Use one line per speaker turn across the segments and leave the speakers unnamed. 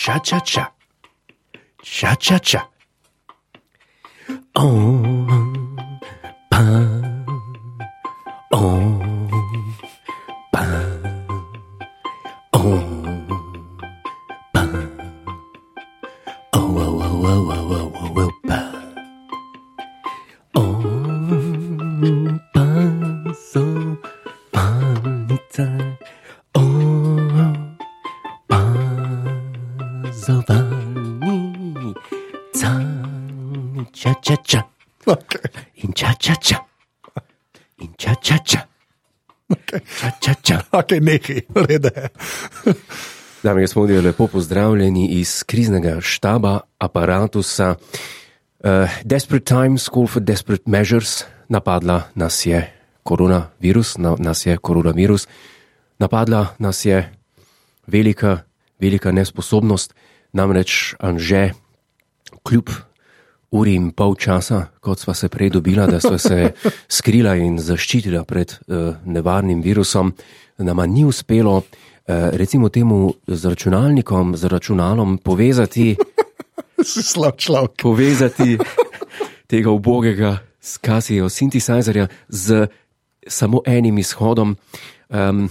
Cha-cha-cha. Cha-cha-cha. Oh, On peint. On peint. On peint. Oh, oh, oh, oh, oh, oh, oh, oh, peint. On peint son peintre. On Pazovani, cha cha cha, in cha cha cha, in cha cha cha, cha cha cha.
Okay, nekaj, reda je.
Dame in gospodje, lepo pozdravljeni iz kriznega štaba aparatusa. Uh, desperate times call for desperate measures. Napadla nas je koronavirus, na, nas je koronavirus, napadla nas je velika, velika nesposobnost, namreč Anže, kljub uri in pol časa, kot sva se prej dobila, da sva se skrila in zaščitila pred uh, nevarnim virusom, nama ni uspelo, uh, recimo temu, z računalnikom, z računalom povezati,
Si slab človek.
povezati tega ubogega skasijo sintesajzerja z samo enim izhodom. Um,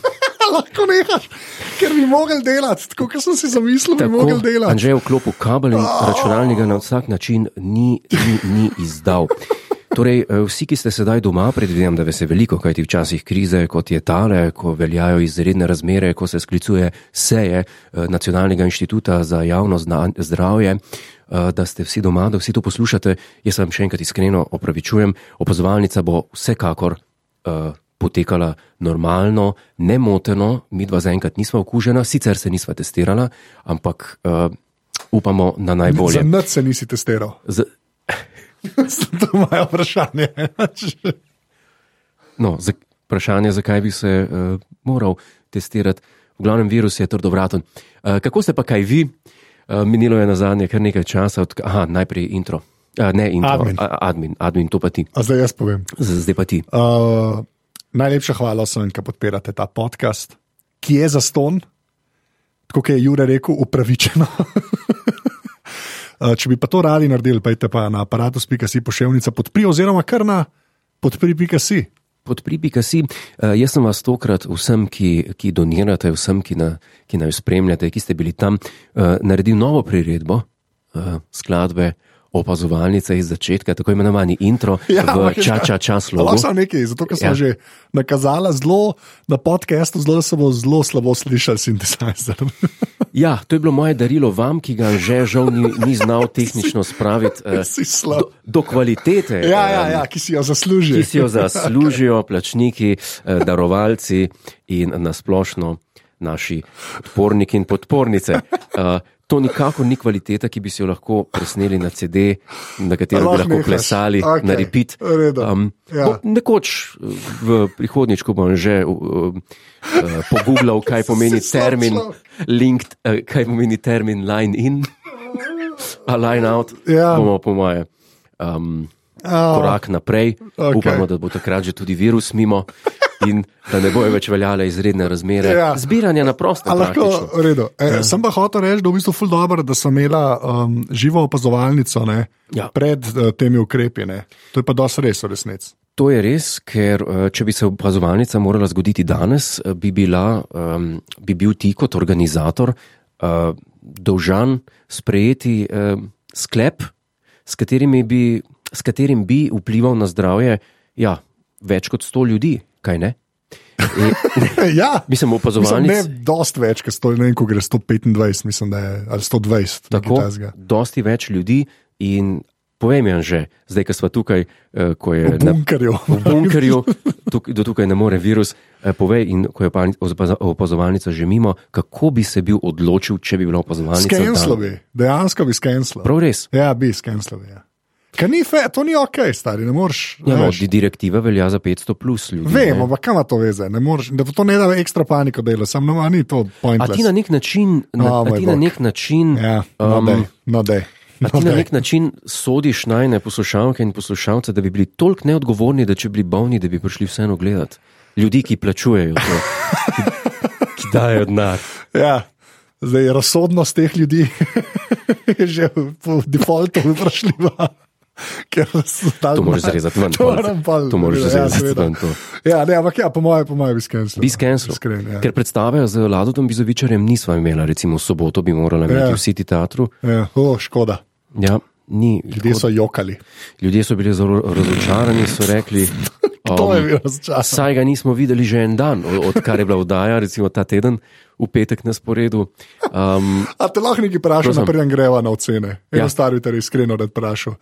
Lahko nehaš, ker bi mogel delati, tako kot sem si zamislil, bi mogel delati. Ah.
Anže je vklopil kabel in računalnika na vsak način ni, ni, ni izdal. Torej, eh, vsi, ki ste sedaj doma, predvidevam, da vas je veliko, kajti včasih krize, kot je tale, ko veljajo izredne razmere, ko se sklicuje seje eh, Nacionalnega inštituta za javno zna- zdravje, eh, da ste vsi doma, da vsi to poslušate. Jaz se vam še enkrat iskreno opravičujem. Opazovalnica bo vsekakor eh, potekala normalno, nemoteno, mi dva zaenkrat nisva okužena, sicer se nisva testirala, ampak uh, upamo na
Za
najbolje.
noč se nisi testiral.
Z,
to je moje vprašanje.
no, za, vprašanje, zakaj bi se uh, moral testirati, v glavnem virus je trdovraten. Uh, kako ste pa kaj vi? Uh, minilo je na zadnje kar nekaj časa, od, aha, najprej intro. Uh, ne, intro,
Admin.
A, admin, admin, to pa ti,
A zdaj jaz povem.
Z- zdaj pa ti.
Uh, najlepša hvala vsem, ki podpirate ta podcast, ki je za ston, tako kot je Jure rekel, upravičeno. Uh, Če bi pa to radi naredili, pojdite pa na aparatus.si pošiljka podpri, oziroma kar na podpri.si.
Podpripika si, Eh, jaz sem vas tokrat vsem, ki, ki donirate, vsem, ki, na, ki naj spremljate, ki ste bili tam, eh, naredil novo priredbo eh, skladbe opazovalnice iz začetka, tako imenovani intro
Ja,
v ča-ča-ča slogu.
Lahko sem nekaj, zato ker sem
Ja.
ja. že nakazala zelo na podkastu, zelo da se bo zelo slabo slišal sintetizer.
Ja, to je bilo moje darilo vam, ki ga že žal ni, ni znal tehnično spraviti eh,
si slab.
do, do kvalitete.
Ja, ja,
eh,
ja, ki si jo zasluži.
ki si jo zaslužijo plačniki, eh, darovalci in nasplošno naši podporniki in podpornice. Eh, To nikakor ni kvaliteta, ki bi si jo lahko presneli na CD, na katero bi
Lahko
lahko
nehaš.
plesali,
Okej,
okay, na repeat. Um,
v redu. Ja.
bo- Nekoč eh, v prihodnjič, ko bom že eh, eh, pogooglal, kaj pomeni
slab
termin
človek.
linked, eh, kaj pomeni termin line in, a line out,
Ja.
bomo po moje. Um,
Oh,
korak naprej.
Okej.
Okay. Upamo, da bo takrat že tudi virus mimo in da ne bojo več veljale izredne razmere.
Ja.
Ja. Zbiranje na prosto.
A lahko,
praktično.
v redu. E,
Ja.
sem pa hotel reči, da je v bistvu ful dobro, da sem imela um, živo opazovalnico ne,
Ja.
pred uh, temi ukrepi. Ne. To je pa dosti res, v resnici.
To je res, ker eh, če bi se opazovalnica morala zgoditi danes, eh, bi, bila, um, bi bil ti kot organizator uh, dolžan sprejeti uh, sklep, s, katerimi bi, s katerim bi vplival na zdravje ja, več kot sto ljudi, kaj ne? E,
ja, mislim,
mislim, opazovalnic.
ne dosti več, ker sto, ne vem, ko gre 125, mislim, da je ali 120. nekaj
Tako,
takega.
dosti več ljudi in povej mi, že zdaj, ko smo tukaj, eh, ko
V
je
bunkerju.
v bunkerju, tuk, do tukaj ne more virus, eh, povej in ko je opani- opaza- opazovalnica že mimo, kako bi se bil odločil, če bi bila opazovalnica. dan?
Skenslo bi, dejansko bi skenslo.
Prav res.
Ja, bi skenslo. Ja. Ker ni fe, to ni ok, stari, ne moreš.
Ja, no,
veš.
di- direktiva velja za 500 plus ljudi.
Vem,
ne.
ampak kam ima to veze? Ne moreš, da to ne da ekstra paniko delo, samo no, a ni to
A
pointless.
ti na nek način, na,
O,
a
moj
ti na
bog.
nek način
Ja, no,
em,
dej, no, dej.
A
No,
ti na
dej.
nek način sodiš najne poslušalke in poslušalce, da bi bili toliko neodgovorni, da če bi bili bolni, da bi prišli vseeno gledati. Ljudi, ki plačujejo to, ki, ki dajo denar.
Ja, Zdaj, razsodnost teh ljudi je že po defaultu vprašljiva. Ker so tam
To moraš zarezati ven.
To moram pol.
To moraš
Ja,
zarezati
seveda.
ven. To.
Ja, ne, ampak ja, po mojem, po mojem bi skenil.
Bi skensil.
Iskren, ja.
Ker predstave z Ladotom Bizovičarjem nisva imela, recimo v soboto bi morala imeti
Ja.
v City teatru.
ja, o, škoda.
Ja, ni.
Ljudje so jokali.
Ljudje so bili zelo razočarani, so rekli.
To je
em,
bilo začasno.
Saj ga nismo videli že en dan, o- odkar je bila vdaja, recimo ta teden, v petek na sporedu. Um,
A te lahko nekaj vprašam,
Prosim.
preden greva na ocene. Eno ja.
Ja.
stvar bi te res iskreno rad vprašal.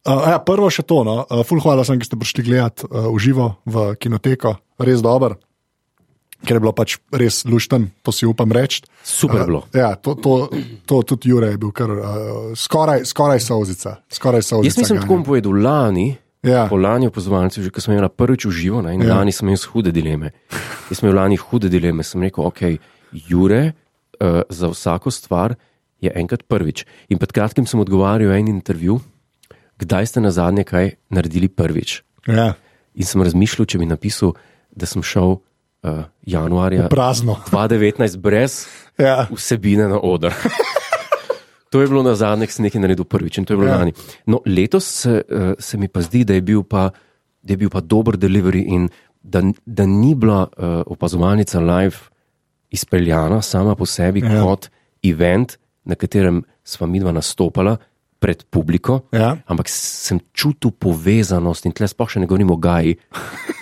Uh, ja, prvo še to, no. uh, ful hvala sem, ki ste prišli gledat uh, v živo v kinoteko, res dober, ker je bilo pač res lušten, to si upam reči.
super je bilo.
Uh, ja, to, to, to tudi Jure je bil kar, uh, skoraj, skoraj sauzica. Skoraj sauzica
Jaz nisem tako bom povedal, lani,
Ja.
po lani opozovancu, že ko sem imel prvič v živo, ne, in
Ja.
ja. lani sem imel hude dileme. Jaz sem imel lani hude dileme, sem rekel, ok, Jure, uh, za vsako stvar je enkrat prvič. In pred kratkim sem odgovarjal en intervju, kdaj ste na zadnje kaj naredili prvič.
Ja,
In sem razmišljal, če bi napisal, da sem šel uh, januarja
prazno.
2019 brez
Ja.
vsebine na oder. To je bilo na zadnje, ki sem nekaj naredil prvič in to je bilo
Ja.
ja. lani. No, letos se, eh, se mi pa zdi, da je bil pa, da je bil pa dober delivery in da, da ni bila uh, opazovalnica live izpeljana sama po sebi
Ja.
ja. kot event, na katerem sva midva nastopala pred publiko,
Ja.
ampak sem čutil povezanost in tle sploh še ne govorimo o Gaji.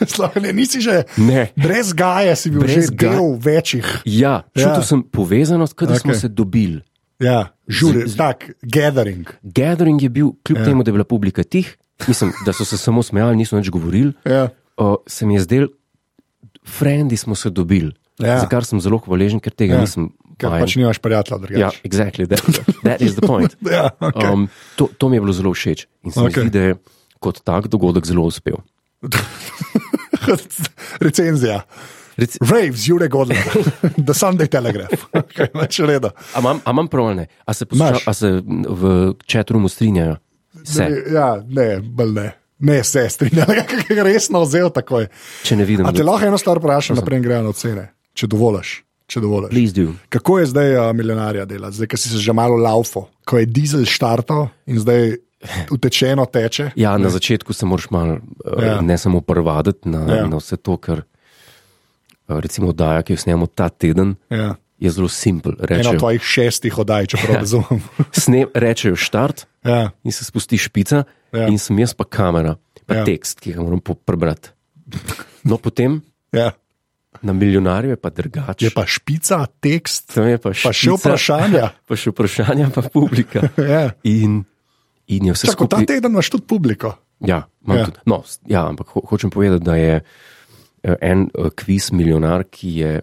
Slovenije nisi že.
Ne.
Brez gaje si bil
Brez
brez že
ga-
del večjih.
Ja, čutil
Ja.
ja. sem povezanost, kot da okay. smo
Okej.
se dobili.
Ja, žuri,
Z- z-
tak, gathering.
Gathering je bil, kljub ja. temu, da je bila publika tih, mislim, da so se samo smejali, niso nič govorili.
Ja.
O, se mi je zdel, frendi smo se dobili.
Ja.
Za kar sem zelo hvaležen, ker tega
Ja,
ja. nisem
Ker
vajen.
pač nimaš prijatelja
Ja,
drugače.
exactly, that, that is the point.
Ja, okej.
um, to, to mi je bilo zelo všeč in se okay. mi
Okej.
zdi, da je kot tak dogodek zelo uspel.
Recenzija.
Oh. Rec,
Raves, Jure Godler, The Sunday Telegraph. Okay, več reda.
a imam- a imam prav ali ne? A se, posluša,
Imaš.
a se v četrumu strinjajo? Se,
Ja, ne, bolj ne. Ne, se strinjam, kaj je resno vzel takoj.
če ne vidim,
A te
da-
lahko eno stvar vprašam, naprej grejo na ocene, če dovoliš. Če dovoliš.
please do.
Kako je zdaj uh, milijonarja delati, zdaj, ki si se že malo laufo, ko je dizel štartal in zdaj utečeno teče?
Ja, na začetku se moraš malo,
Ja.
ja. ne samo prvaditi na,
Ja.
ja. na vse to, kar eh, recimo oddaja, ki jo snemamo ta teden,
Ja.
je zelo simpel.
Eno
Rečejo,
tvojih šestih oddaj, če
Ja.
prav razumem.
sne, rečejo štart
Ja.
in se spusti špica
Ja.
ja. in sem jaz pa kamera, pa
Ja.
ja. tekst, ki ga moram po- prebrati. No, potem
Ja.
na milijonarju je pa drugače.
Je pa špica, tekst,
Tam je pa,
Ja. pa še
špica,
vprašanja.
Pa še vprašanja, pa publika.
Ja.
In, in je vse
Tako, ta
skupaj.
teden imaš tudi publiko.
Ja,
Ja.
ja. Tudi, no, s- ja, ampak ho hočem povedati, da je eh, en eh, kviz milijonar, ki je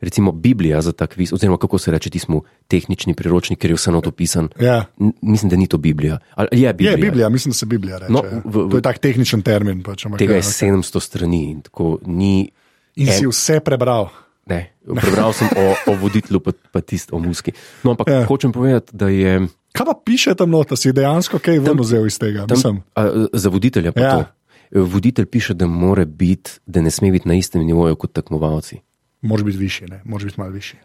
recimo Biblija za ta kviz, oziroma kako se reče tismu tehnični priročnik, ker je vse notopisan.
Ja.
Mislim, da ni to Biblija. Ali, je Biblija.
Je Biblija, mislim, da se Biblija reče.
No,
ja.
v- v-
to je tak tehničen termin. Pač, ampak
Tega
ja,
je 700 strani in tako ni.
In si vse prebral.
Ne, prebral sem o, o voditelju, pa, pa tisto o muski. No, ampak
Ja.
ja. hočem povedati, da je
Kaj pa piše tam nota, si dejansko kaj ven vzel iz tega? Mislim,
tam, a, za voditelja pa
Ja.
ja. to. Eh, Voditelj piše, da, mora biti- da ne sme biti na istem nivoju kot tekmovalci.
moraš biti višji, ne? moraš biti malo višji.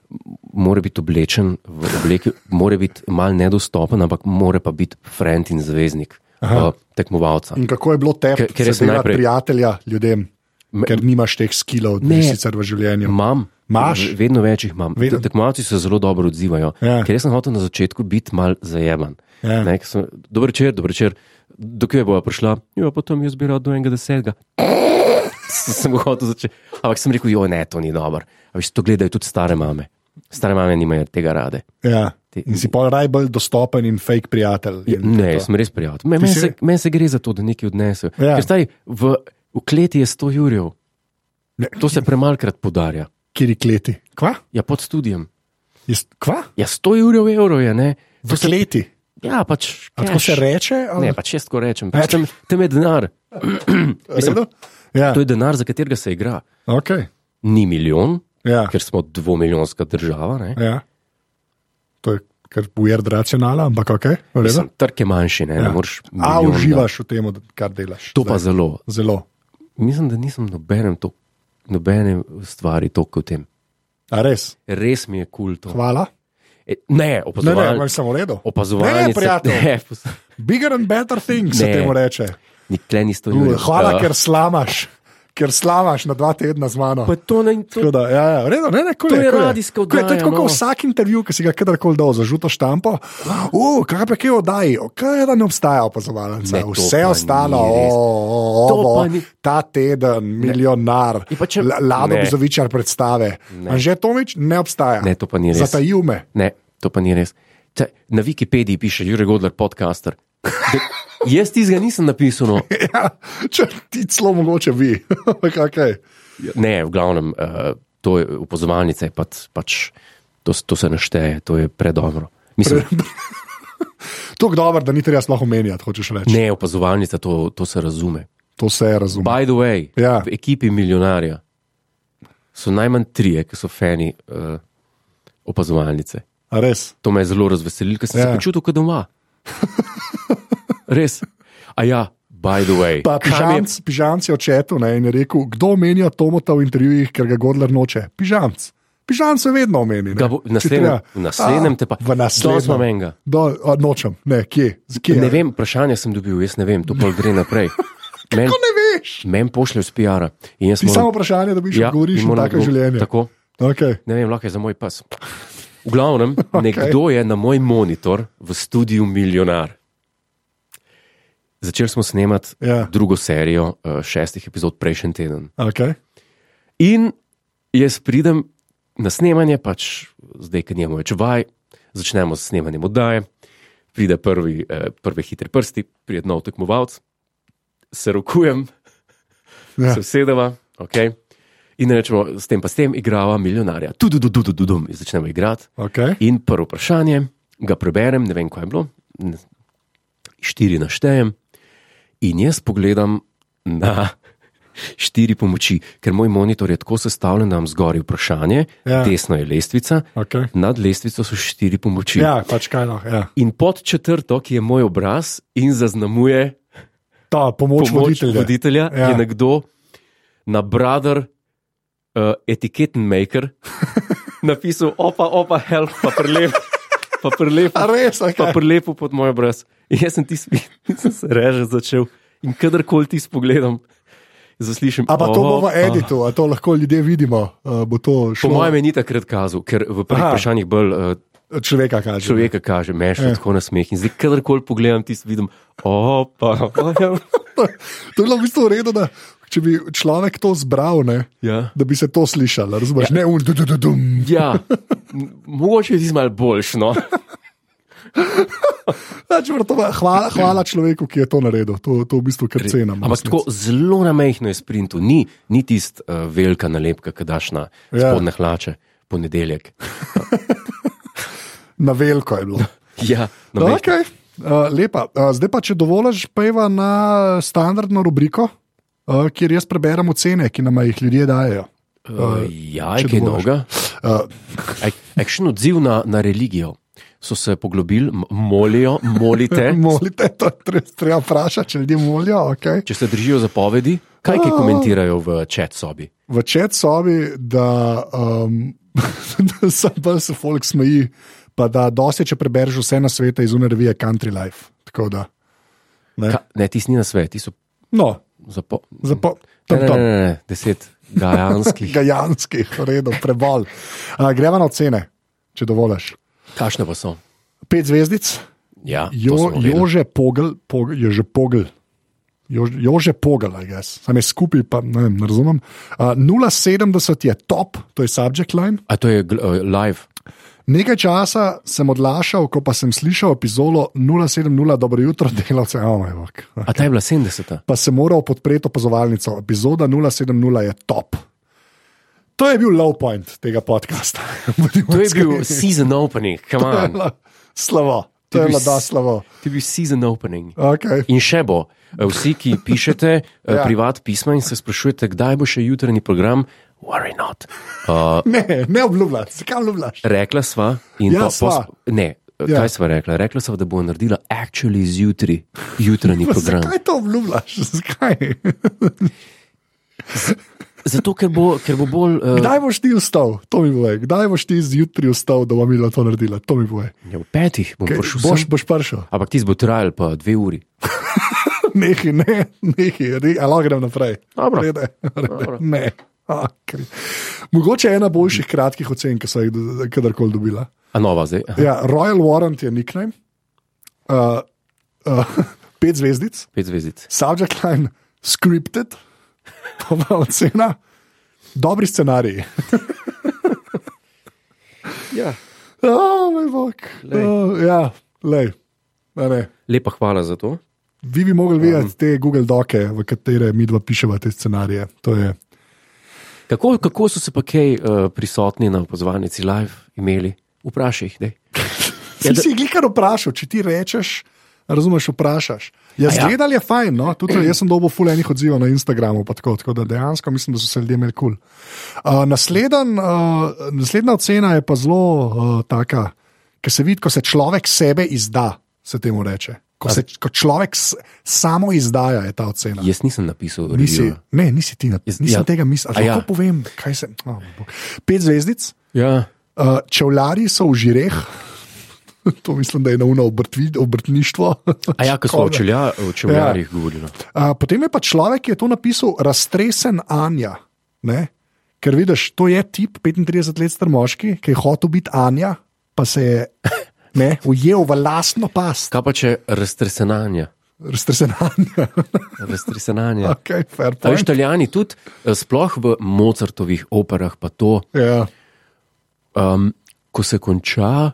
mora biti oblečen v obleki, mora biti mal nedostopen, ampak mora pa biti friend in zvezdnik uh, tekmovalca.
In kako je bilo tebi,
Ker- ker
ker
jaz
si najprej...
najprej-
prijatelja ljudem,
Me-
ker nimaš teh skilov,
Ne.
ne sicer v življenju.
Imam,
Imaš?
vedno več jih imam.
Vedno.
Vedno. Tekmovalci se zelo dobro odzivajo.
Ja.
Ker jaz sem hotel na začetku biti mal zajeman.
Ja.
Ne, ker sem, dober večer, dober večer. Dokaj bo prišla, jo potem jaz bi rad do enega desetega. sem ga hotel začeti. Ampak sem rekel, jo ne, to ni dobro. A Veš, to gledajo tudi stare mame. Stare mame nimajo tega rade.
Ja.
Ti-
In si pa najbolj dostopen in fake prijatelj. In
Ja, Ne,
Ja, to.
jaz sem res prijatelj. Me- Meni
si-
se, men se gre za to, da nekaj odnesem.
Ja.
Ja. Stari, v, v kleti je 100 jurjev.
Ne.
To se premalkrat podarja.
Kiri kleti. Kva?
Ja, pod študijem.
Jaz, kva?
Ja, 100 jurjev evrov je, ne?
V kleti.
Ja, pač.
A Tako
cash.
se reče? ali-
Ne, pač jaz tako rečem. Pač tam, tam je denar.
Redo? Ja,
To je denar, za katerega se igra.
okay.
Ni milijon,
ja.
ker smo dvomiljonska država. Ne?
Ja. To je kar ujerd racionala, ampak ok. v redu.
Mislim, Trg je manjši, ne, ja. ne moreš.
A
milijon
uživaš v tem, kar delaš.
dati. To pa zelo.
Zelo.
Mislim, da nisem nobenem, to, nobenem stvari toliko v tem.
A res,
Res mi je kul cool to.
hvala.
E, Ne,
Ne, ne,
opazovalnik.
imaš samo redo.
Opazovalnica.
Ne, prijatelj.
Ne, pos-
Bigger and better things se
Ne.
temu reče.
nikle niste
Uh,
videli.
Hvala,
Ja.
ker slamaš, ker slamaš na dva tedna z mano.
Pa to ne, to
Tako Da, ja, ja, redo, ne, ne, kul
To je
kul
radijska
Kul je, To je
oddaja,
tako
no.
kot vsak intervju, ki si ga kadarkoli dal za žuto štampo. Uf, kaj pa kje oddaji, kaj da ne obstaja opazovalnica.
Ne, to
Vse
pa
ostalo,
ni res.
o, o,
To
o,
pa ni-
ta teden, milijonar,
In pa če-
La- Lado
Ne.
Bizovičar predstave. Anže Tomič ne obstaja.
Ne, to pa ni res.
Zatajil me.
Ne, to pa ni res. Ta, na Wikipediji piše Jurek Godler, podcaster. Da, jaz tizga nisem napisal. No.
Ja, če ti celo mogoče vi. okay.
Ne, v glavnem, uh, to je upozovalnice, pač, pač to, s- to se našteje, to je predobro. Mislim,
Tako dobro, da ni treba sploh omenjati, hočeš reči.
ne, opazovalnica, to, to se razume.
To se razume.
By the way,
Ja.
v ekipi milijonarja so najmanj trije, ki so fani uh, opazovalnice.
A Res.
To me je zelo razveselilo, ker sem
Ja.
se počutil kot doma. Res. A ja, by the way.
Pa
kam je-
pižamc, pižamc je očetu ne, in je rekel, kdo omenja Tomota v intervjujih, ker ga Godler noče. Pižamc. Pižamc se vedno omeni. ne.
Ga bo- v
Če
naslednjem-
treba.
v naslednjem
A,
te pa-
V
Danes imam
naslednjem.
enega.
Do, a, nočem, ne, kje. Z kje
Ne vem, vprašanje sem dobil, jaz ne vem, to pa gre naprej. Men,
Kako ne veš?
men pošlje z PR-a. in jaz
Ti
moram-
samo vprašanje, da bi še
Ja,
odgovoriš
in
na
moram
tako
odgovor-
življenje.
Tako,
Okay.
ne vem, lahko je za moj pas. V glavnem, okay. nekdo je na moj monitor v studiu Milijonar. Začeli smo snemati
Ja.
drugo serijo eh, šestih epizod prejšnji teden.
Okay.
In jaz pridem na snemanje, pač zdaj, ki njemu več vaj, začnemo s snemanjem oddaje. Pride prvi, eh, prve hitre prsti, pride nov tekmovalec, se rokujem,
Ja.
ja. se usedeva, okay, in rečemo, s tem pa s tem igrava milijonarja. Tu, tu, tu, tu, tu, tu, tu, začnemo igrati.
Okay.
In prvo vprašanje, ga preberem, ne vem, kaj je bilo, ne- štiri naštejem. In jaz pogledam na štiri pomoči, ker moj monitor je tako sestavljen, da imam zgoraj vprašanje,
Ja.
ja. desno je lestvica,
Okay.
nad lestvico so štiri pomoči.
Ja, pač kaj lahko. Ja.
In pod četrto, ki je moj obraz in zaznamuje
Ta pomoč,
pomoč
voditelja.
voditelja, voditelja
Ja.
ja. je nekdo na brother, uh, etiketen maker, napisal opa, opa, help, pa prelep, pa prelep,
A res,
pa
okay.
prelep pod moj obraz. In jaz sem tisti, ki sem se reže začel in kadarkoli ti spogledam, zaslišim.
A pa to bo v
"Opa."
editu, a to lahko ljudje vidimo. Uh, bo to
Po
šlo
mojem je ni takrat kazal, ker v prvih
Aha.
vprašanjih bolj uh,
človeka kaže.
človeka kaže, meš
Ja.
je tako na smeh. In zdaj, kadarkoli pogledam, ti vidim, opa, opa, ja." help."
To je bilo v bistvu v redu, da če bi človek to zbral, ne,
ja.
da bi se to slišalo. Razumeš? Ja. Ne, un, du, du, du, dum.
Ja, m- mogoče je tisti malo boljši. No?
Ja, če prav to pa- hvala, hvala človeku, ki je to naredil. To, to v bistvu kar cenim.
Ampak tako zelo na mehko je sprintu, ni, ni tista uh, velika nalepka, ki daš na
Ja.
ja. spodne hlače, ponedeljek.
Na veliko je bilo.
Ja, na
No,
mehko.
okay. uh, lepa. Uh, zdaj pa, če dovoliš, pejva na standardno rubriko, uh, kjer jaz preberem ocene, ki nam jih ljudje dajo.
Uh, ja,
če
je kaj
dovoliš.
novega.
Uh,
Akšen odziv na, na religijo. So se poglobili, m- molijo, molite,
molite, to je tre- treba vprašati, če ljudje molijo. Okay.
če se držijo zapovedi. Kaj kaj komentirajo v čat sobi?
v čet sobi, da, um, da se bolj se folk smeji, pa da dosti, če prebereš vse na svete iz une revije Country Life. Tako da, ne.
Ka, ne, ti si na svet, ti so
No,
zapo...
zapo,
Ne,
tam,
ne, ne,
tam.
ne, ne, deset gajanskih.
Gajanski, redo, prebol. Uh, greva na ocene, če dovoliš.
Kakšne pa so?
Pet zvezdic,
Ja, to
jo,
smo vedeli.
Jože Pogel, pog, Jože Pogel. Jož- Jože Pogel, jaz, sam je skupaj, pa ne, vem, ne razumem. Uh, 0,70 je top, to je subject line,
A to je gl- eh, live.
Nekaj časa sem odlašal, ko pa sem slišal epizodo 070, dobro jutro, delavce, oh moj bog.
A ta je bila 70.
Pa sem moral podpreti opazovalnico. Epizoda 070 je top. To je bil low point tega podcasta.
To je bil season opening, come on.
slabo, to
To je
je
bil
bilo da
s-
slabo.
To je bil season opening.
Okay.
In še bo, Eh, vsi, ki pišete
Ja.
ja. privat pisma in se sprašujete, kdaj bo še jutranji program, worry not. Uh,
Ne, ne obljubljaš, zakaj obljubljaš?
rekla sva in
Ja,
pa
sva.
Ne,
Ja.
ja. kaj sva rekla? Rekla sva, da bo naredila actually zjutraj jutranji
Pa
program.
Zakaj to obljubljaš? Zakaj?
Zato, ker bo, ker bo bolj. Uh,
Kdaj boš ti vstal, to mi boje. Kdaj boš ti zjutraj vstal, da bom videl to naredila, to mi boje.
ja, v petih bom prišel.
Boš,
sem.
boš prišel.
Ampak ti bo trajal pa dve uri.
Nehi, ne, nehi, ne, ali grem naprej.
Dobro.
Rede, rede, ne. A, kri. Mogoče ena boljših kratkih ocen, ki so jih do- kadarkoli dobila.
A nova zdaj. Aha,
Ja, Royal Warrant je nickname, uh, uh, pet zvezdic,
Pet zvezdic.
subject line, scripted, pomembna ocena, dobri scenariji.
Ja.
Oh, moj bog. Oh, ja, lej. A ne.
Lepa hvala za to.
Vi bi mogli
Mm.
videti te Google doke, v katere mi dva piševa te scenarije. To je
Kako, kako so se pa kaj uh, prisotni na opozornici live imeli? Vprašaj jih, daj.
Ti
Ja,
si jih kar vprašal, če ti rečeš, razumeš, vprašaš. Ja,
A ja.
zgledal je fajn, no? tudi jaz sem dobil ful enih odzivov na Instagramu, pa tako, tako da dejansko mislim, da so se ljudje imeli kul. Cool. Uh, nasleden, uh, naslednja ocena je pa zelo uh, taka, ker se vidi, ko se človek sebe izda, se temu reče. Ko, se, ko človek s, samo izdaja, je ta ocena.
Jaz nisem napisal, da
Nisi, ne, nisi ti, na-
Jaz-
nisem
ja.
ja. tega mislil.
A
Ali
ja.
lahko povem, kaj sem. Oh, moj bog. Pet zvezdic.
Ja.
Uh, čevlari so v žireh, to mislim, da je naumno obrtništvo.
A ja, ko smo o čelja- o
Ja.
čevljarjih govorili. no.
Uh, potem je pa človek, ki je to napisal, raztresen Anja. Ne? Ker vidiš, to je tip 35 let star moški, ki je hotel biti Anja, pa se je ne, ujel v lastno past,
Kaj pa če raztresenanja?
raztresen Anja.
Raztresenanja.
okay, fair
A
point.
veš, Italijani tudi, eh, sploh v Mozartovih operah, pa to,
Ja,
um, ko se konča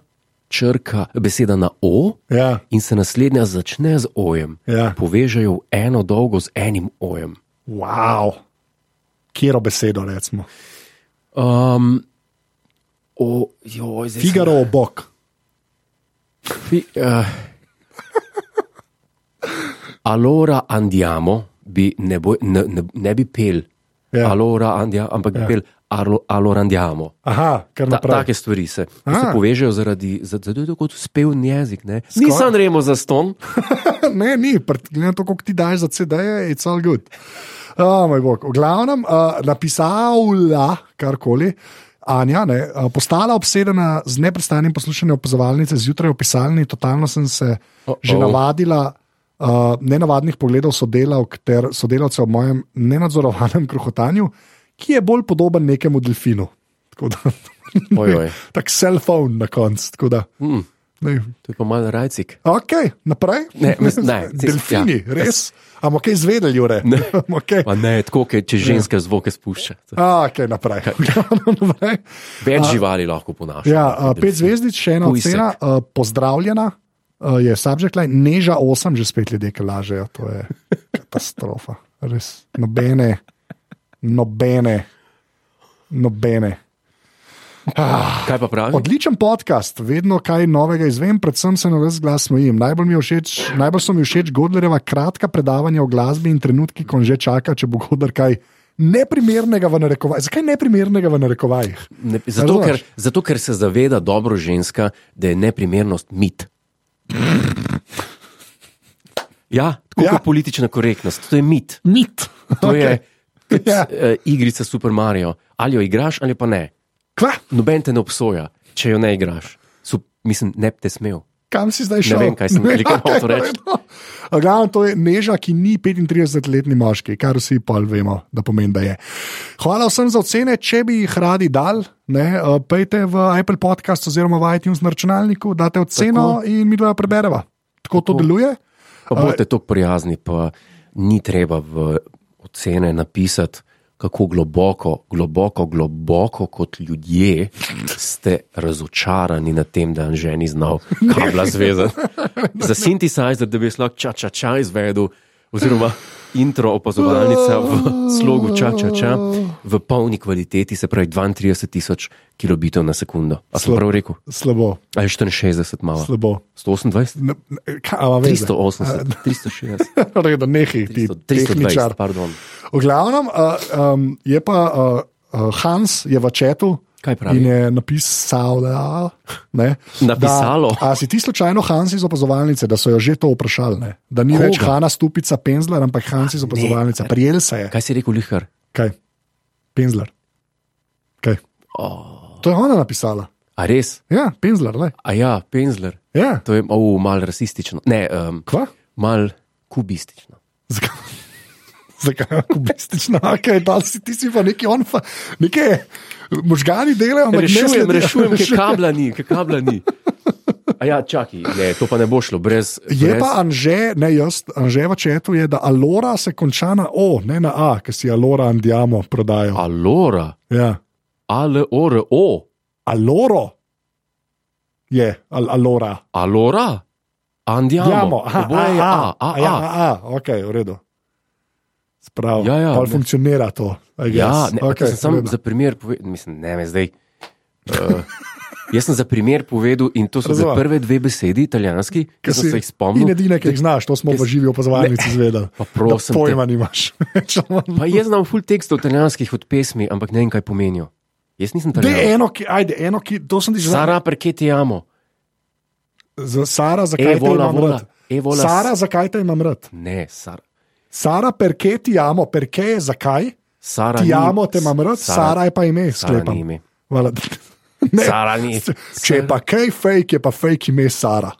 črka, beseda na O
ja.
in se naslednja začne z ojem,
Ja.
povežejo v eno dolgo z enim ojem.
Wow. Kjero besedo recimo?
Um, o, joj, zdaj sem-
Figaro obok.
Fi, uh, allora andiamo, bi ne, bo, ne, ne, ne bi pel.
Ja.
Allora andiamo, ampak bi pel allo- allora andiamo.
Aha, kar
Ta,
naprej.
take stvari se, se
A.
povežejo zaradi, zato je to kot spevni jezik. Ne? Ni San Remo za ston,
ne, ni, pr- glede na to, koliko ti daš za CD-je, it's all good. Oh, moj bog. V glavnem, uh, napisala karkoli. Anja, ne, eh, postala obsedena z neprestanim poslušanjem opazovalnice zjutraj v pisalni, totalno sem se
Uh-oh.
že navadila uh, nenavadnih pogledov sodelavk ter sodelavcev ob mojem nenadzorovanem krohotanju, ki je bolj podoben nekemu delfinu. Tako da,
Ojoj.
tak cell phone na koncu. tako da, ne,
to je pa malo rajcik.
Ok, naprej.
Ne, mislim, ne, tis-
Delfini, ja. res. Ampak kaj izvedeli, Jure?
Ne.
Okay.
Pa ne, tako, ke-
Ja.
če ženske zvoke spušča.
A, ok, naprej. naprej.
Več živali lahko ponaša.
Ja, a, pet zvezdic, še ena
Pujsek.
ocena. a, Pozdravljena. a, Je subject line, neža osem, že spet ljudje, ki lažejo. To je katastrofa. Res. Nobene, nobene, nobene.
Kaj pa pravi?
Odličen podcast, vedno kaj novega izvem, predvsem se na vse glas smejim. Najbolj, mi je všeč, najbolj so mi všeč Godlerjeva kratka predavanja o glasbi in trenutki, ko on že čaka, če bo Godler kaj neprimernega v narekovajih. Zakaj neprimernega v narekovajih?
Ne, zato, ker,
Razumeš?
zato, ker se zaveda dobro ženska, da je neprimernost mit. Ja, tako
Ja.
ja. je politična korektnost, to je mit.
Mit.
To okay. je kot,
Ja.
ja. uh, igrica Super Mario. Ali jo igraš, ali pa ne.
Kva?
Noben te ne obsoja, če jo ne igraš. Sup, mislim, ne bi te smel.
Kam si zdaj šel? Ja,
vem, kaj sem- ali kaj
kaj
hotel reči.
ja. Glavno, to je neža, ki ni 35-letni moški, kar vsi pol vemo, da pomeni, da je. Hvala vsem za ocene, če bi jih radi dal, ne, eh, pejte v Apple podcast oziroma v iTunes na računalniku, date oceno Tako. in mi dva prebereva. Tako, Tako. to deluje.
Pa bodite tako prijazni, pa ni treba v ocene napisati, kako globoko, globoko, globoko kot ljudje ste razočarani nad tem, da Anže ni znal kabla zvezati. Za synthesizer, da bi jaz lahko ča, ča, ča izvedel, oziroma intro opazovalnica v slogu ča, ča, ča v polni kvaliteti, se pravi 32 tisoč kilobitov na sekundo. A sem
Slo-
prav rekel?
Slabo,
Ali 64 malo?
slabo.
128?
Ne, ne, kaj, a ima veze?
380, 360.
Redo, nehaj, ti
300, 320,
tehničar.
pardon.
V glavnem, uh, um, je pa uh, uh, Hans je v četu.
Kaj pravi?
In je napisal, da, ne,
Napisalo?
Da, a si ti slučajno Hans iz opazovalnice, da so jo že to vprašali? Ne? Da ni Koga? več
Koga? Ah,
Hanna Stupica Penzler, ampak Hans iz opazovalnice. Prijel se je.
Kaj si rekel, lihar?
Kaj? Penzler. Kaj?
Oh.
To je ona napisala.
A res?
Ja, Penzler, le.
A ja, penzler.
Ja.
To je oh, malo rasistično. Ne, um,
Kva?
malo kubistično.
Zakaj? Zakaj kubistična, kaj dal si ti si pa neki on, fa, neke možgani delajo, ampak ne
Rešujem,
sledijo.
rešujem, ker kabla ni, ker kabla ni. A ja, čakaj, ne, to pa ne bo šlo brez.
Je
brez...
pa Anže, ne jaz, Anže v četu je, da Alora se konča na O, ne na A, ker si Alora in Diamo prodajo.
Alora,
Ja.
aloro,
Aloro je, al, Alora.
alora, andiamo,
Diamo, aha,
oboje je a, a,
ja,
a.
a, a, ok, v redu. Sprav,
Ja, ja,
pol
ne.
funkcionira to. I
Ja,
guess.
ne, okay, sem
v
samo
redu.
za primer povedal, mislim, ne me zdaj. Uh, jaz sem za primer povedal in to so za
Razumem.
prve dve besedi italijanski, ki
Ker
sem
si-
se jih
In
spomnil.
edine, ki jih znaš, to smo
Jaz-
v živi opazovalnici izvedeli.
Pa prosim
Da
te. Ja.
Pojma nimaš.
Pa jaz znam full tekstov italijanskih od pesmi, ampak ne vem, kaj pomenijo. Jaz nisem
De
italijan.
eno, ki, ajde, eno, ki, to sem ti že
Sara, perché ti amo?
Za Sara,
E,
zakaj te
vola,
imam
vola.
rad?
E, vola,
Sara, zakaj te imam rad?
Ne, Sara.
Sara, perke ti jamo, perke je zakaj?
Sara
Ti
ni-
jamo, te imam rad, Sara, Sara je pa ime,
Sara ni
sklepam.
ime.
Hvala. Ne.
Sara ni.
Če je pa kaj fake, je pa fake ime Sara.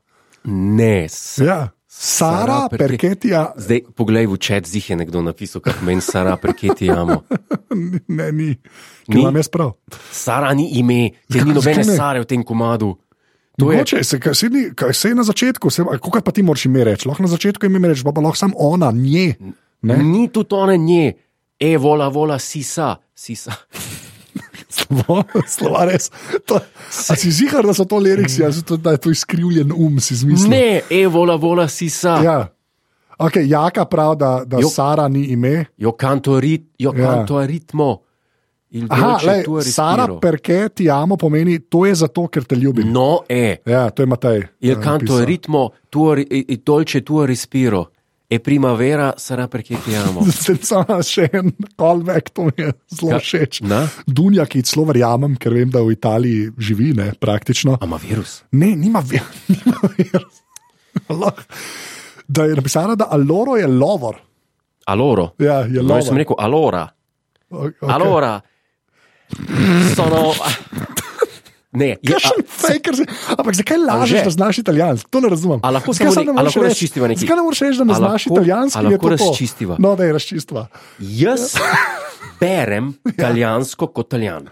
Ne, Sara.
Ja. Sara,
Sara Perke-
perketija,
Zdaj, poglej v čet, zih je nekdo napisal, kako meni Sara, perché ti amo.
ne, ni, ki
Ni?
imam jaz prav.
Sara ni ime, ker ni
Zakaj-
nobene
zakaj ne?
Sare v tem komadu. To je,
Mogoče, se, kaj, se, ni, kaj, se je na začetku, se, kako pa ti moraš ime reči? Lahko na začetku ime reči, pa, pa lahko samo ona, nje. Ne?
ni tudi one nje, e, vola, vola, sisa, sisa.
Slovo, slova res. To, a si zihar, da so to liriksi, ali so to, da je to izkrivljen um, si zmislil?
Ne, e, vola, vola, sisa. Ja.
Ja. Okay, jaka prav, da, da
Jo.
Sara ni ime.
Jo canto, rit, jo
Ja.
canto a ritmo. Il
Aha,
dolce tuo
le, Sara,
respiro.
perke ti amo pomeni, to je zato, ker te ljubim.
No, e,
Ja, to je Matej.
il
eh,
canto a
napisal.
ritmo, tuo, ri- il dolce tuo respiro. E primavera sarà perché ti amo.
Zdaj samo še en callback, to mi je zelo
Ja,
všeč.
na?
Dunja, ki ji celo verjamem, ker vem, da v Italiji živi, ne, praktično.
A ma virus?
Ne, nima ver, nima ver. Lahko- Da je napisala, da Aloro je lovor.
Aloro.
Ja, je
No, jaz sem
lovor.
rekel, alora.
O- okej.
Okay. Alora. Sono. Ne, ah, je, a,
Kakšen fejker si. Ampak zakaj lažeš,
Anže.
da znaš italijansko? To ne razumem.
A lahko
Zakaj
samo
samo
nek- a
moreš
lahko
reči-
razčistiva nekaj?
Zakaj ne moreš reči, da
A
ne znaš
lahko-
italijansko?
a
in je
lahko
to to?
razčistiva?
No, da je razčistiva.
jaz berem
Ja.
italijansko kot italijan.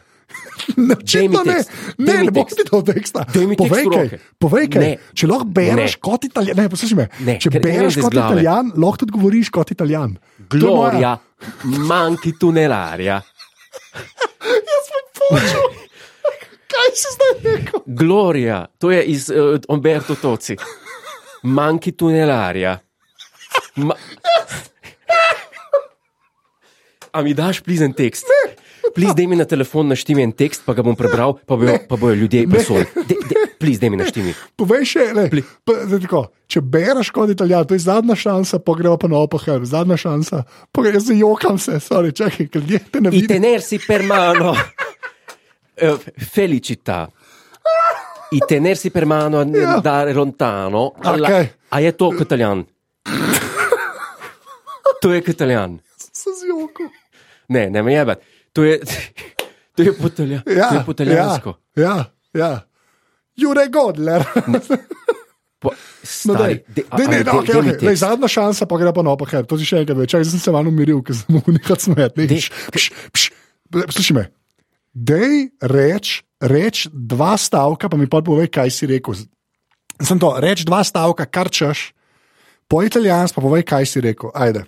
Ne, očitno ne,
tekst.
ne,
Daj mi
ne bom
tekst.
ti dal teksta.
Daj mi tekst
Povej
v
kaj,
roke.
povej kaj.
Ne.
Če lahko bereš
Ne.
kot italijan, ne, poslušaj me.
Ne,
Če
ker ne vem
bereš
zdaj iz
kot
glave.
italijan, lahko tudi govoriš kot italijan. To je moja-
Gloria, manjki tu nelaria.
Jaz sem počel. Kaj si zdaj rekel?
Gloria, to je iz uh, Umberto Toci. Manjki tu nelaria. Ma... A mi daš plizen tekst? Pliz, da mi na telefon naštimi en tekst, pa ga bom prebral, pa bojo, pa bojo ljudje presojali. Pliz, da mi naštimi.
Povej še, ne, pa, zdaj tako, če bereš kot italijan, to je zadnja šansa, pa gremo pa na opohem, zadnja šansa. Pa jaz se jokam se, sorry, čakaj, ker ljudje te ne
I
vidijo.
tenersi per mano. Eh, Felicità. I tenersi per mano, andare lontano. Alla- Ah,
Ok.
A je to katalijan? To je katalijan.
Se z jokom.
Ne, ne me jebe. To je, to je, potalja, to je potaljansko.
Ja, ja. ja. Jure Godler.
Po,
No,
stari,
daj.
de, a,
Daj,
a,
ne,
je
da,
de-
okay,
deli
okay. Lej,
tekst.
zadnja šansa, pa gre pa na opahem. To si še enkrat več. Čakaj, zdaj sem se malo umiril, ker sem mu nekaj smet. Ne, pš,
Dej,
pš, pš. Poslušaj me. Dej reč, reč dva stavka, pa mi pa povej, kaj si rekel. Sem to, reč dva stavka, kar češ. Po italijansko pa povej, kaj si rekel. Ajde.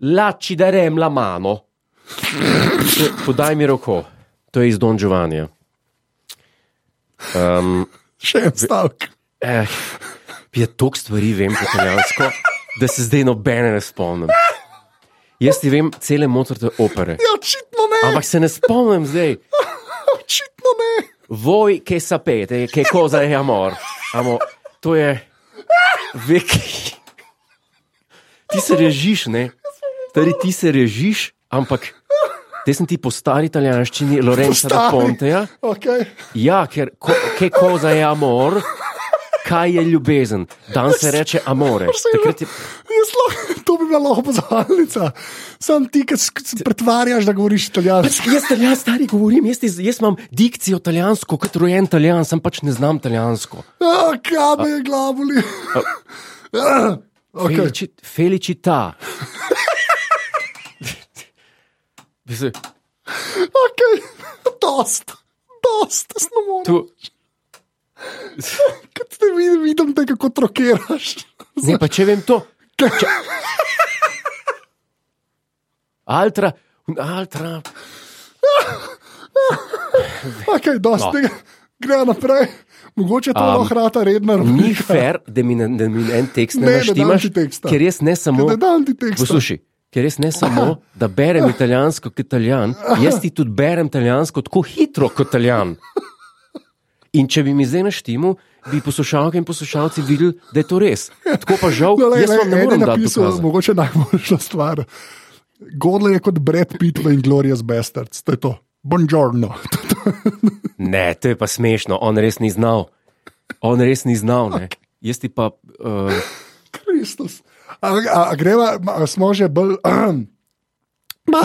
La ci darem la mano. To- Podaj mi roko. To je iz Don Giovannija. Um,
Še en stavek.
Eh, je toliko stvari, vem po italijansko, da se zdaj nobene ne spomnim. Jaz ti vem cele Mozartove opere,
Ja, očitno ne,
ampak se ne spomnim zdaj.
očitno ne.
Voi, ki sapete, che cosa è amor. Amo, to je veki. Ti se režiš, ne? Tari, ti se režiš, ampak te sem ti po stari italijanščini, Lorenza da
Stari.
Ponteja.
Okay.
Ja, ker ko, che cosa è amor, kaj je ljubezen. Dan se reče
no.
amore. Takrat je,
Jaz lahko- To bi bila lahko pozvalnica. Sam ti, ki se pretvarjaš, da govoriš italijansko.
Pač jaz italijan stari govorim, jaz, iz- jaz imam dikcijo italijansko, kot rojen italijan, sam pač ne znam italijansko.
Ah, Kaj me je glavoli? Okay.
Felici, felicita. Mislim,
Okay. Dost, dost, jaz ne morem.
to-
Kot te vidim, vidim te, kako trokiraš.
Ne, pa če vem to. Če... Altra, altra.
Okay, dost,
No.
no. Gre naprej. Mogoče to um, lahko rata redna
Ni
rubrika.
fair, da mi, ne, da mi en tekst ne,
Ne,
ne
ne dam
naštimaš,
ti teksta.
ker jaz ne samo.
Ne dam ti teksta.
no. Poslušaj, ker jaz ne samo, da berem italijansko kot italijan, jaz ti tudi berem italijansko tako hitro kot italijan. In če bi mi zdaj naštimal, bi poslušalke in poslušalci videli, da je to res. Tako pa žal,
No, lej,
jaz vam
lej,
ne
en je
morem dati
napisal,
dokaza.
mogoče najboljša stvar. Godle je kot Brad Pitt v Inglorious Bastards, to je to. Buongiorno. To je to.
Ne, to je pa smešno, on res ni znal. On res ni znal. Okay. Jaz ti pa. Uh,
Kristus. A, a, a greva, ma, a smo že bolj, ahem, ma,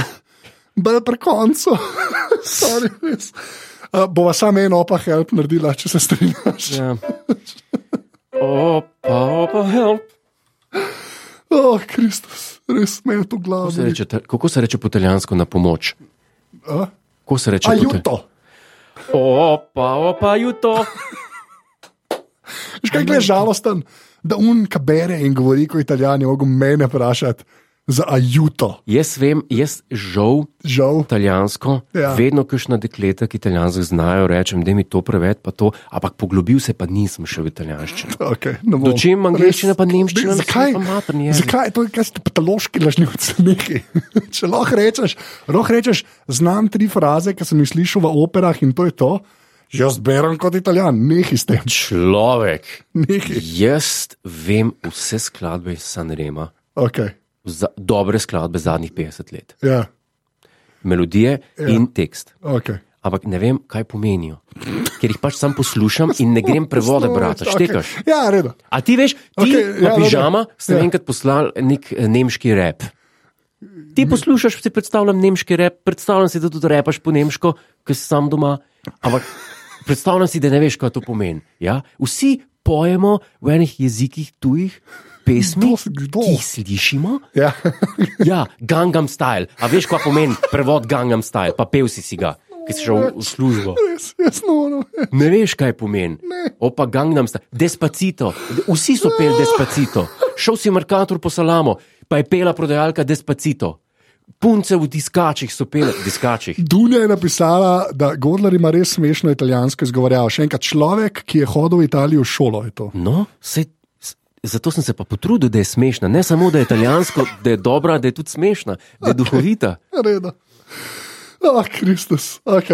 bolj pri koncu. Sorry, res. A, Bova samo eno pa help naredila, če se strinjaš.
ja. Opa, opa, ja. help.
O, oh, Kristus, res me je to glavo.
Kako se reče, kako se reče po italijansko na pomoč?
A?
Kako se reče
A
po italijansko?
juto.
Opa, opa, juto.
Še kaj je žalosten, da un kabere in govori kot italijan, je mogel mene vprašati za ajuto.
Jaz vem, jaz žal
Žal.
italijansko,
Ja.
ja. vedno kakšna dekleta, ki italijansko znajo, rečem, da mi to preveč, pa to, ampak poglobil se pa nisem še v italijanščino.
Okay, ne bom.
Dočim angleščina
Res.
pa nemščina,
Ne, Zakaj?
mislim, pa materni jezik.
Zakaj to je kaj ste patološki lažnivci neki? Če lahko rečeš, lahko rečeš, znam tri fraze, ki sem jih slišal v operah in to je to. Jaz berem kot italijan, nehi s tem,
Človek.
nehi.
Jaz vem vse skladbe iz Sanrema,
Okay,
za, dobre skladbe zadnjih 50 let,
ja,
melodije ja. in tekst.
okay.
Ampak ne vem, kaj pomenijo, ker jih pač sam poslušam in ne grem prevode brati.
Okej.
Štekaš.
Ja, redo.
A ti veš, ti
Okej,
okay,
ja,
ja,
dobro.
pižama si
Ja.
ja. enkrat poslal nek eh, nemški rep. Ti poslušaš, si predstavljam nemški rep, predstavljam si, da tudi repaš po nemško, ker si sam doma. Ampak predstavljam si, da ne veš, kaj to pomeni. Ja? Vsi pojemo v enih jezikih tujih pesmi,
Kdo si- kdo?
ki jih slišimo.
Ja.
Ja, Gangnam style. A veš, kaj pomeni prevod Gangnam style, pa pel si si ga, ki si šel v- v službo.
Res, jaz nono.
Ne veš, kaj pomeni. Opa, Gangnam sta, despacito. De- Vsi so peli despacito. Šel si markator po salamo, pa je pela prodajalka despacito. Punce v diskačih so pele, diskačih.
Dunja je napisala, da Gordler ima res smešno italijansko izgovorjavo. Še enkrat, človek, ki je hodil v Italijo v šolo, je to.
No, se, zato sem se pa potrudil, da je smešna. Ne samo, da je italijansko, da je dobra, da je tudi smešna, da je duhovita.
Redo. Ah, Kristus, ok.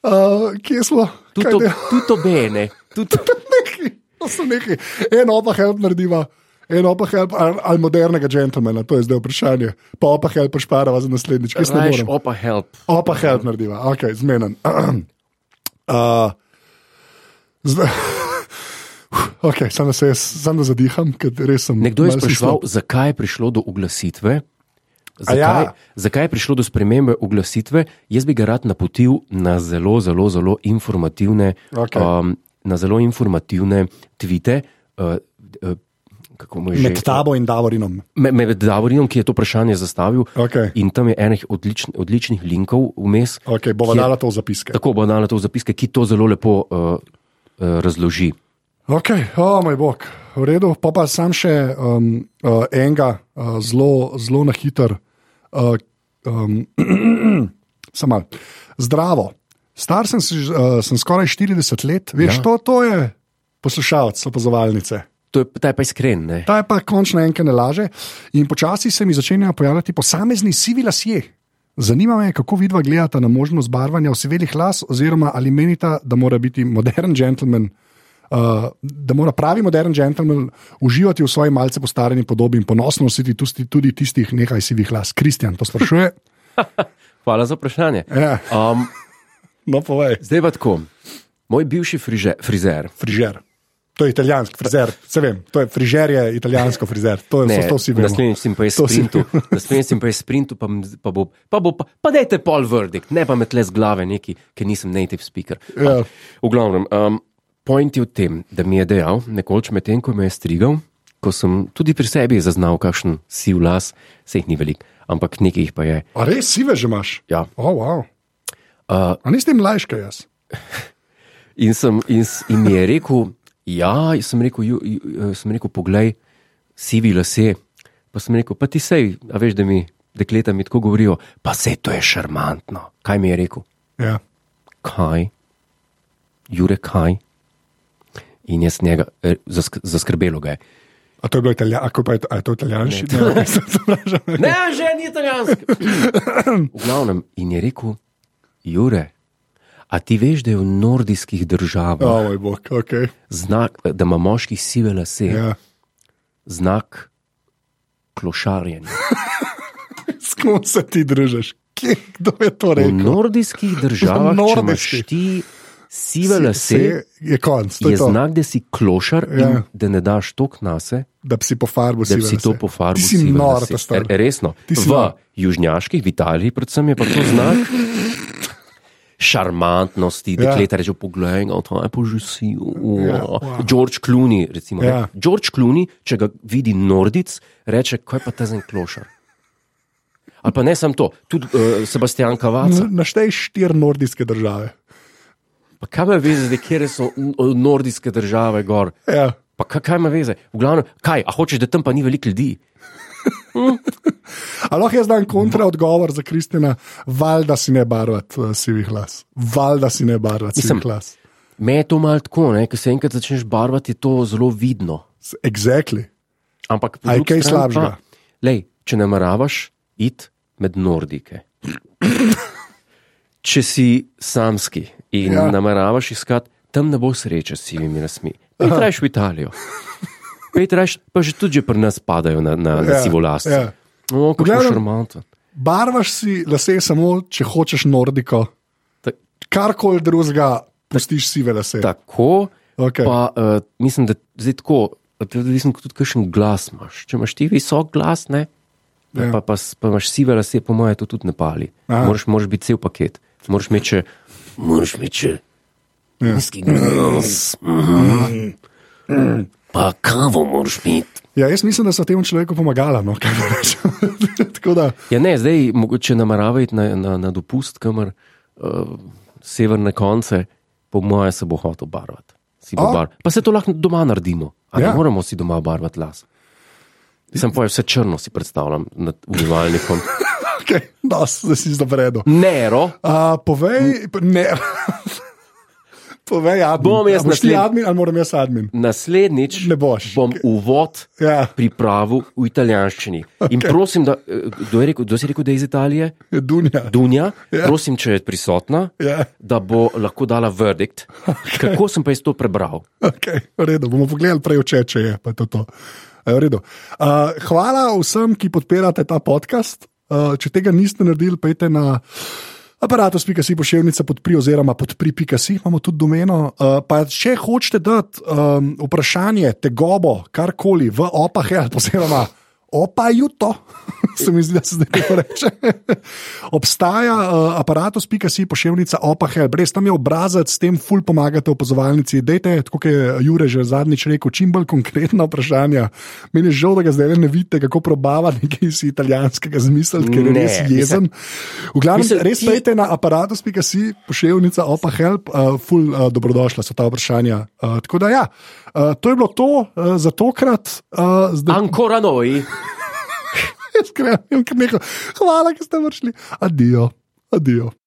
Uh, kje smo? Kaj
Tudi
dela-
to bene. Tudi
Nekaj, to so neki. Eno pa help narediva, eno pa help ali, ali modernega džentlmena, to je zdaj vprašanje. Pa opa help šparava za naslednjič, jaz ne
rajš,
morem.
opa, help.
Opa help narediva, ok, zmenen. Uh, zve... Ok, samo da se jaz, samo da zadiham, ker res sem.
Nekdo je
malo si
spraševal,
slab.
zakaj je prišlo do oglasitve.
A ja.
Zakaj, ja. zakaj je prišlo do spremembe oglasitve? Jaz bi ga rad napotil na zelo, zelo, zelo informativne,
Okej.
um, na zelo informativne tvite. Uh, uh, kako mu je
Med
že?
tabo in Davorinom.
Me- Med Davorinom, ki je to vprašanje zastavil,
Okej.
in tam je enih odličn, odličnih linkov vmes.
Ok, bova
ki je-
dala to v zapiske.
Tako bo dala to v zapiske, ki to zelo lepo uh, uh, razloži.
Ok, o oh, moj bog, v redu. Pa pa sam še um, uh, enega, uh, zelo, zelo na hiter. Uh, um, samo malo. Zdravo. Star sem, si že, uh, sem skoraj 40 let, veš, ja.
Ja.
to, to je poslušalec opazovalnice.
To je, ta je pa iskren. Ne?
Ta je pa končno enkrat ne laže. In počasi se mi začenjajo pojavljati posamezni sivi lasje. Zanima me, kako vidva gledata na možnost barvanja osivelih las, oziroma ali menita, da mora biti modern gentleman. Uh, da mora pravi modern gentleman uživati v svoji malce postarjeni podobi in ponosno nositi tusti, tudi tistih nekaj sivih las. Kristjan to sprašuje.
Hvala za vprašanje.
Ja.
Um,
No, povej,
Zdaj pa tako. Moj bivši friže, frizer,
frižer. To je italijanski frizer, se vem, to je frizer, je italijansko frizer. To je
Ne,
vse, to vsi vemo.
Naslednjič sem pa je
To vsi
sprintu, naslednjič sem pa je sprintu, pa, m- pa bo, pa bo, pa, pa dajte pol verdikt, ne pa me tle z glave neki, ker nisem native speaker.
Ja.
V glavnem, um, point je v tem, da mi je dejal nekoč medtem, ko me je strigal, ko sem tudi pri sebi zaznal kakšen siv las, se jih ni velik, ampak nekaj jih pa je.
A res sive že imaš?
Ja.
Oh, wow.
Uh,
A nisi tem lajška jaz?
in, sem, in, s- in mi je rekel, ja, sem rekel, ju, ju, sem rekel poglej, sivi lase. Pa sem rekel, pa ti sej, a veš, da mi dekleta mi tako govorijo, pa sej to je šarmantno. Kaj mi je rekel?
Ja.
kaj, Jure kaj. In jaz njega, eh, zask, zaskrbelo ga je.
A to je bilo italijan, ako pa je to, a je to italijanski? Ne, ne, se vprašam.
Ne, že ni italijanski. V glavnem, in je rekel, Jure, a ti veš, da je v nordijskih državah
O moj bog, ok.
znak, eh, da ima moški sive lase, ja.
Ja.
znak klošarjenja.
S kom se ti družiš? Kje, kdo je to
V
rekel?
nordijskih državah, če imaš
nordijskih.
ti sive lase,
Se je konc, to
je
je to,
znak, da si klošar ja. in
Ja.
da ne daš tok nase.
da bi si po farbu
da
sive
bi si to
lase.
pofarbil.
Ti si
sive
nor,
lase.
ta star.
E, Resno.
Ti si
V
nor.
južnjaških, v Italiji, predvsem je pa to znak. Šarmantnosti,
Ja.
dekleta reče, poglej, ga, to je pa že si.
Ja,
uo."
wow.
George Clooney, recimo.
Ja.
ne. George Clooney, če ga vidi nordic, reče, kaj pa ta zen klošar. Ali pa ne samo to, tudi uh, Sebastian Kavaca.
N- Naštej štiri nordijske države.
Pa kaj me veze, zdaj, kje so n- nordijske države gor?
Ja.
Pa kaj, kaj me veze? V glavnem, kaj, a hočeš, da tam pa ni veliko ljudi?
Ali lahko jaz dam kontra odgovor za Kristina, valjda si ne barvati uh, sivih las. Valjda si ne barvati
Mislim-
sivih las.
Me je to malo tako, ne, ker se enkrat začneš barvati, je to zelo vidno.
S- Exactly.
Ampak po
A je
drugi
kaj
strani
slabšega?
pa, Lej, če nameravaš iti med nordike. Če si samski in ja.
Ja.
nameravaš iskati, tam ne bo sreče s sivimi lasmi. Pejtraš v Italijo. Pejtraš, pa že tudi že pri nas padajo na, na, na ja,
Ja,
sivo last. Ja.
ja.
No, kako je
glavnem-
šarmantno.
Barvaš si lase samo, če hočeš nordiko.
Ta-
Karkoli drugega, pustiš sive lase.
Tako, okay.
Okej.
pa uh, mislim, da zdaj tako, odvisno tudi, kakšen glas imaš. Če imaš ti visok glas, ne, ja.
Ja.
pa, pa, s- pa imaš sive lase, po mojem, to tudi ne pali.
Aha.
Moraš, moraš biti cel paket, moraš imeti če. Moraš imeti če.
Ja.
Nizki glas.
Mm.
Pa kavo moraš imeti.
Ja, jaz mislim, da so temu človeku pomagala. No, kaj naj rečem. Tako da,
Ja, ne, zdaj, mogoče nameravati na, na, na dopust, kamor uh, severne konce, po mojem, se bo hotel barvati. Si bo
A?
bar... Pa se to lahko doma naredimo, ali ja.
Ja.
moramo si doma barvati las. Sem pa je vse črno, si predstavljam, nad umivalnikom.
okay, da si zdaj vredno.
Nero,
Uh, povej, ne. povej, admin.
Bom jaz
A boš ti
naslednji.
admin ali moram jaz admin?
naslednjič
Ne boš.
bom uvod
Ja.
pripravil v italijanščini. Okay. In prosim, da, eh, kdo, je rekel, kdo si rekel, da je iz Italije?
Je Dunja.
Dunja, ja.
Ja.
prosim, če je prisotna,
Ja.
da bo lahko dala verdikt. Okay. Kako sem pa jaz to prebral?
Okay, v redu, bomo pogledali prej, če, če je. pa je To to. A je v redu. Uh, hvala vsem, ki podpirate ta podcast. Uh, če tega niste naredili, pejte na aparatus.si pošiljnica podpri oziroma podpri.si, imamo tudi domeno. Uh, pa če hočete dati um, vprašanje, tegobo, karkoli v opah, ali posebej opajuto, se mi zdi, da se zdaj tako reče. Obstaja uh, aparatus.si pošiljnica opah, brez tam je obrazec, s tem ful pomagate opazovalnici. Dejte, tako kot je Jure že zadnjič rekel, čim bolj konkretna vprašanja. Meni je žal, da ga zdaj ne vidite, kako probava nekaj iz italijanskega zmisla, ker je
Ne,
res jezen. V glavnem,
Mislim,
Mislim, res
ti-
pejte na aparatus.si, pošiljnica opa help, uh, ful uh, dobrodošla so ta vprašanja. Uh, tako da ja, uh, to je bilo to uh, za tokrat. Uh, zdaj
Ancora noi.
jaz grem, jaz grem, hvala, ker ste vršli. Adijo, adijo.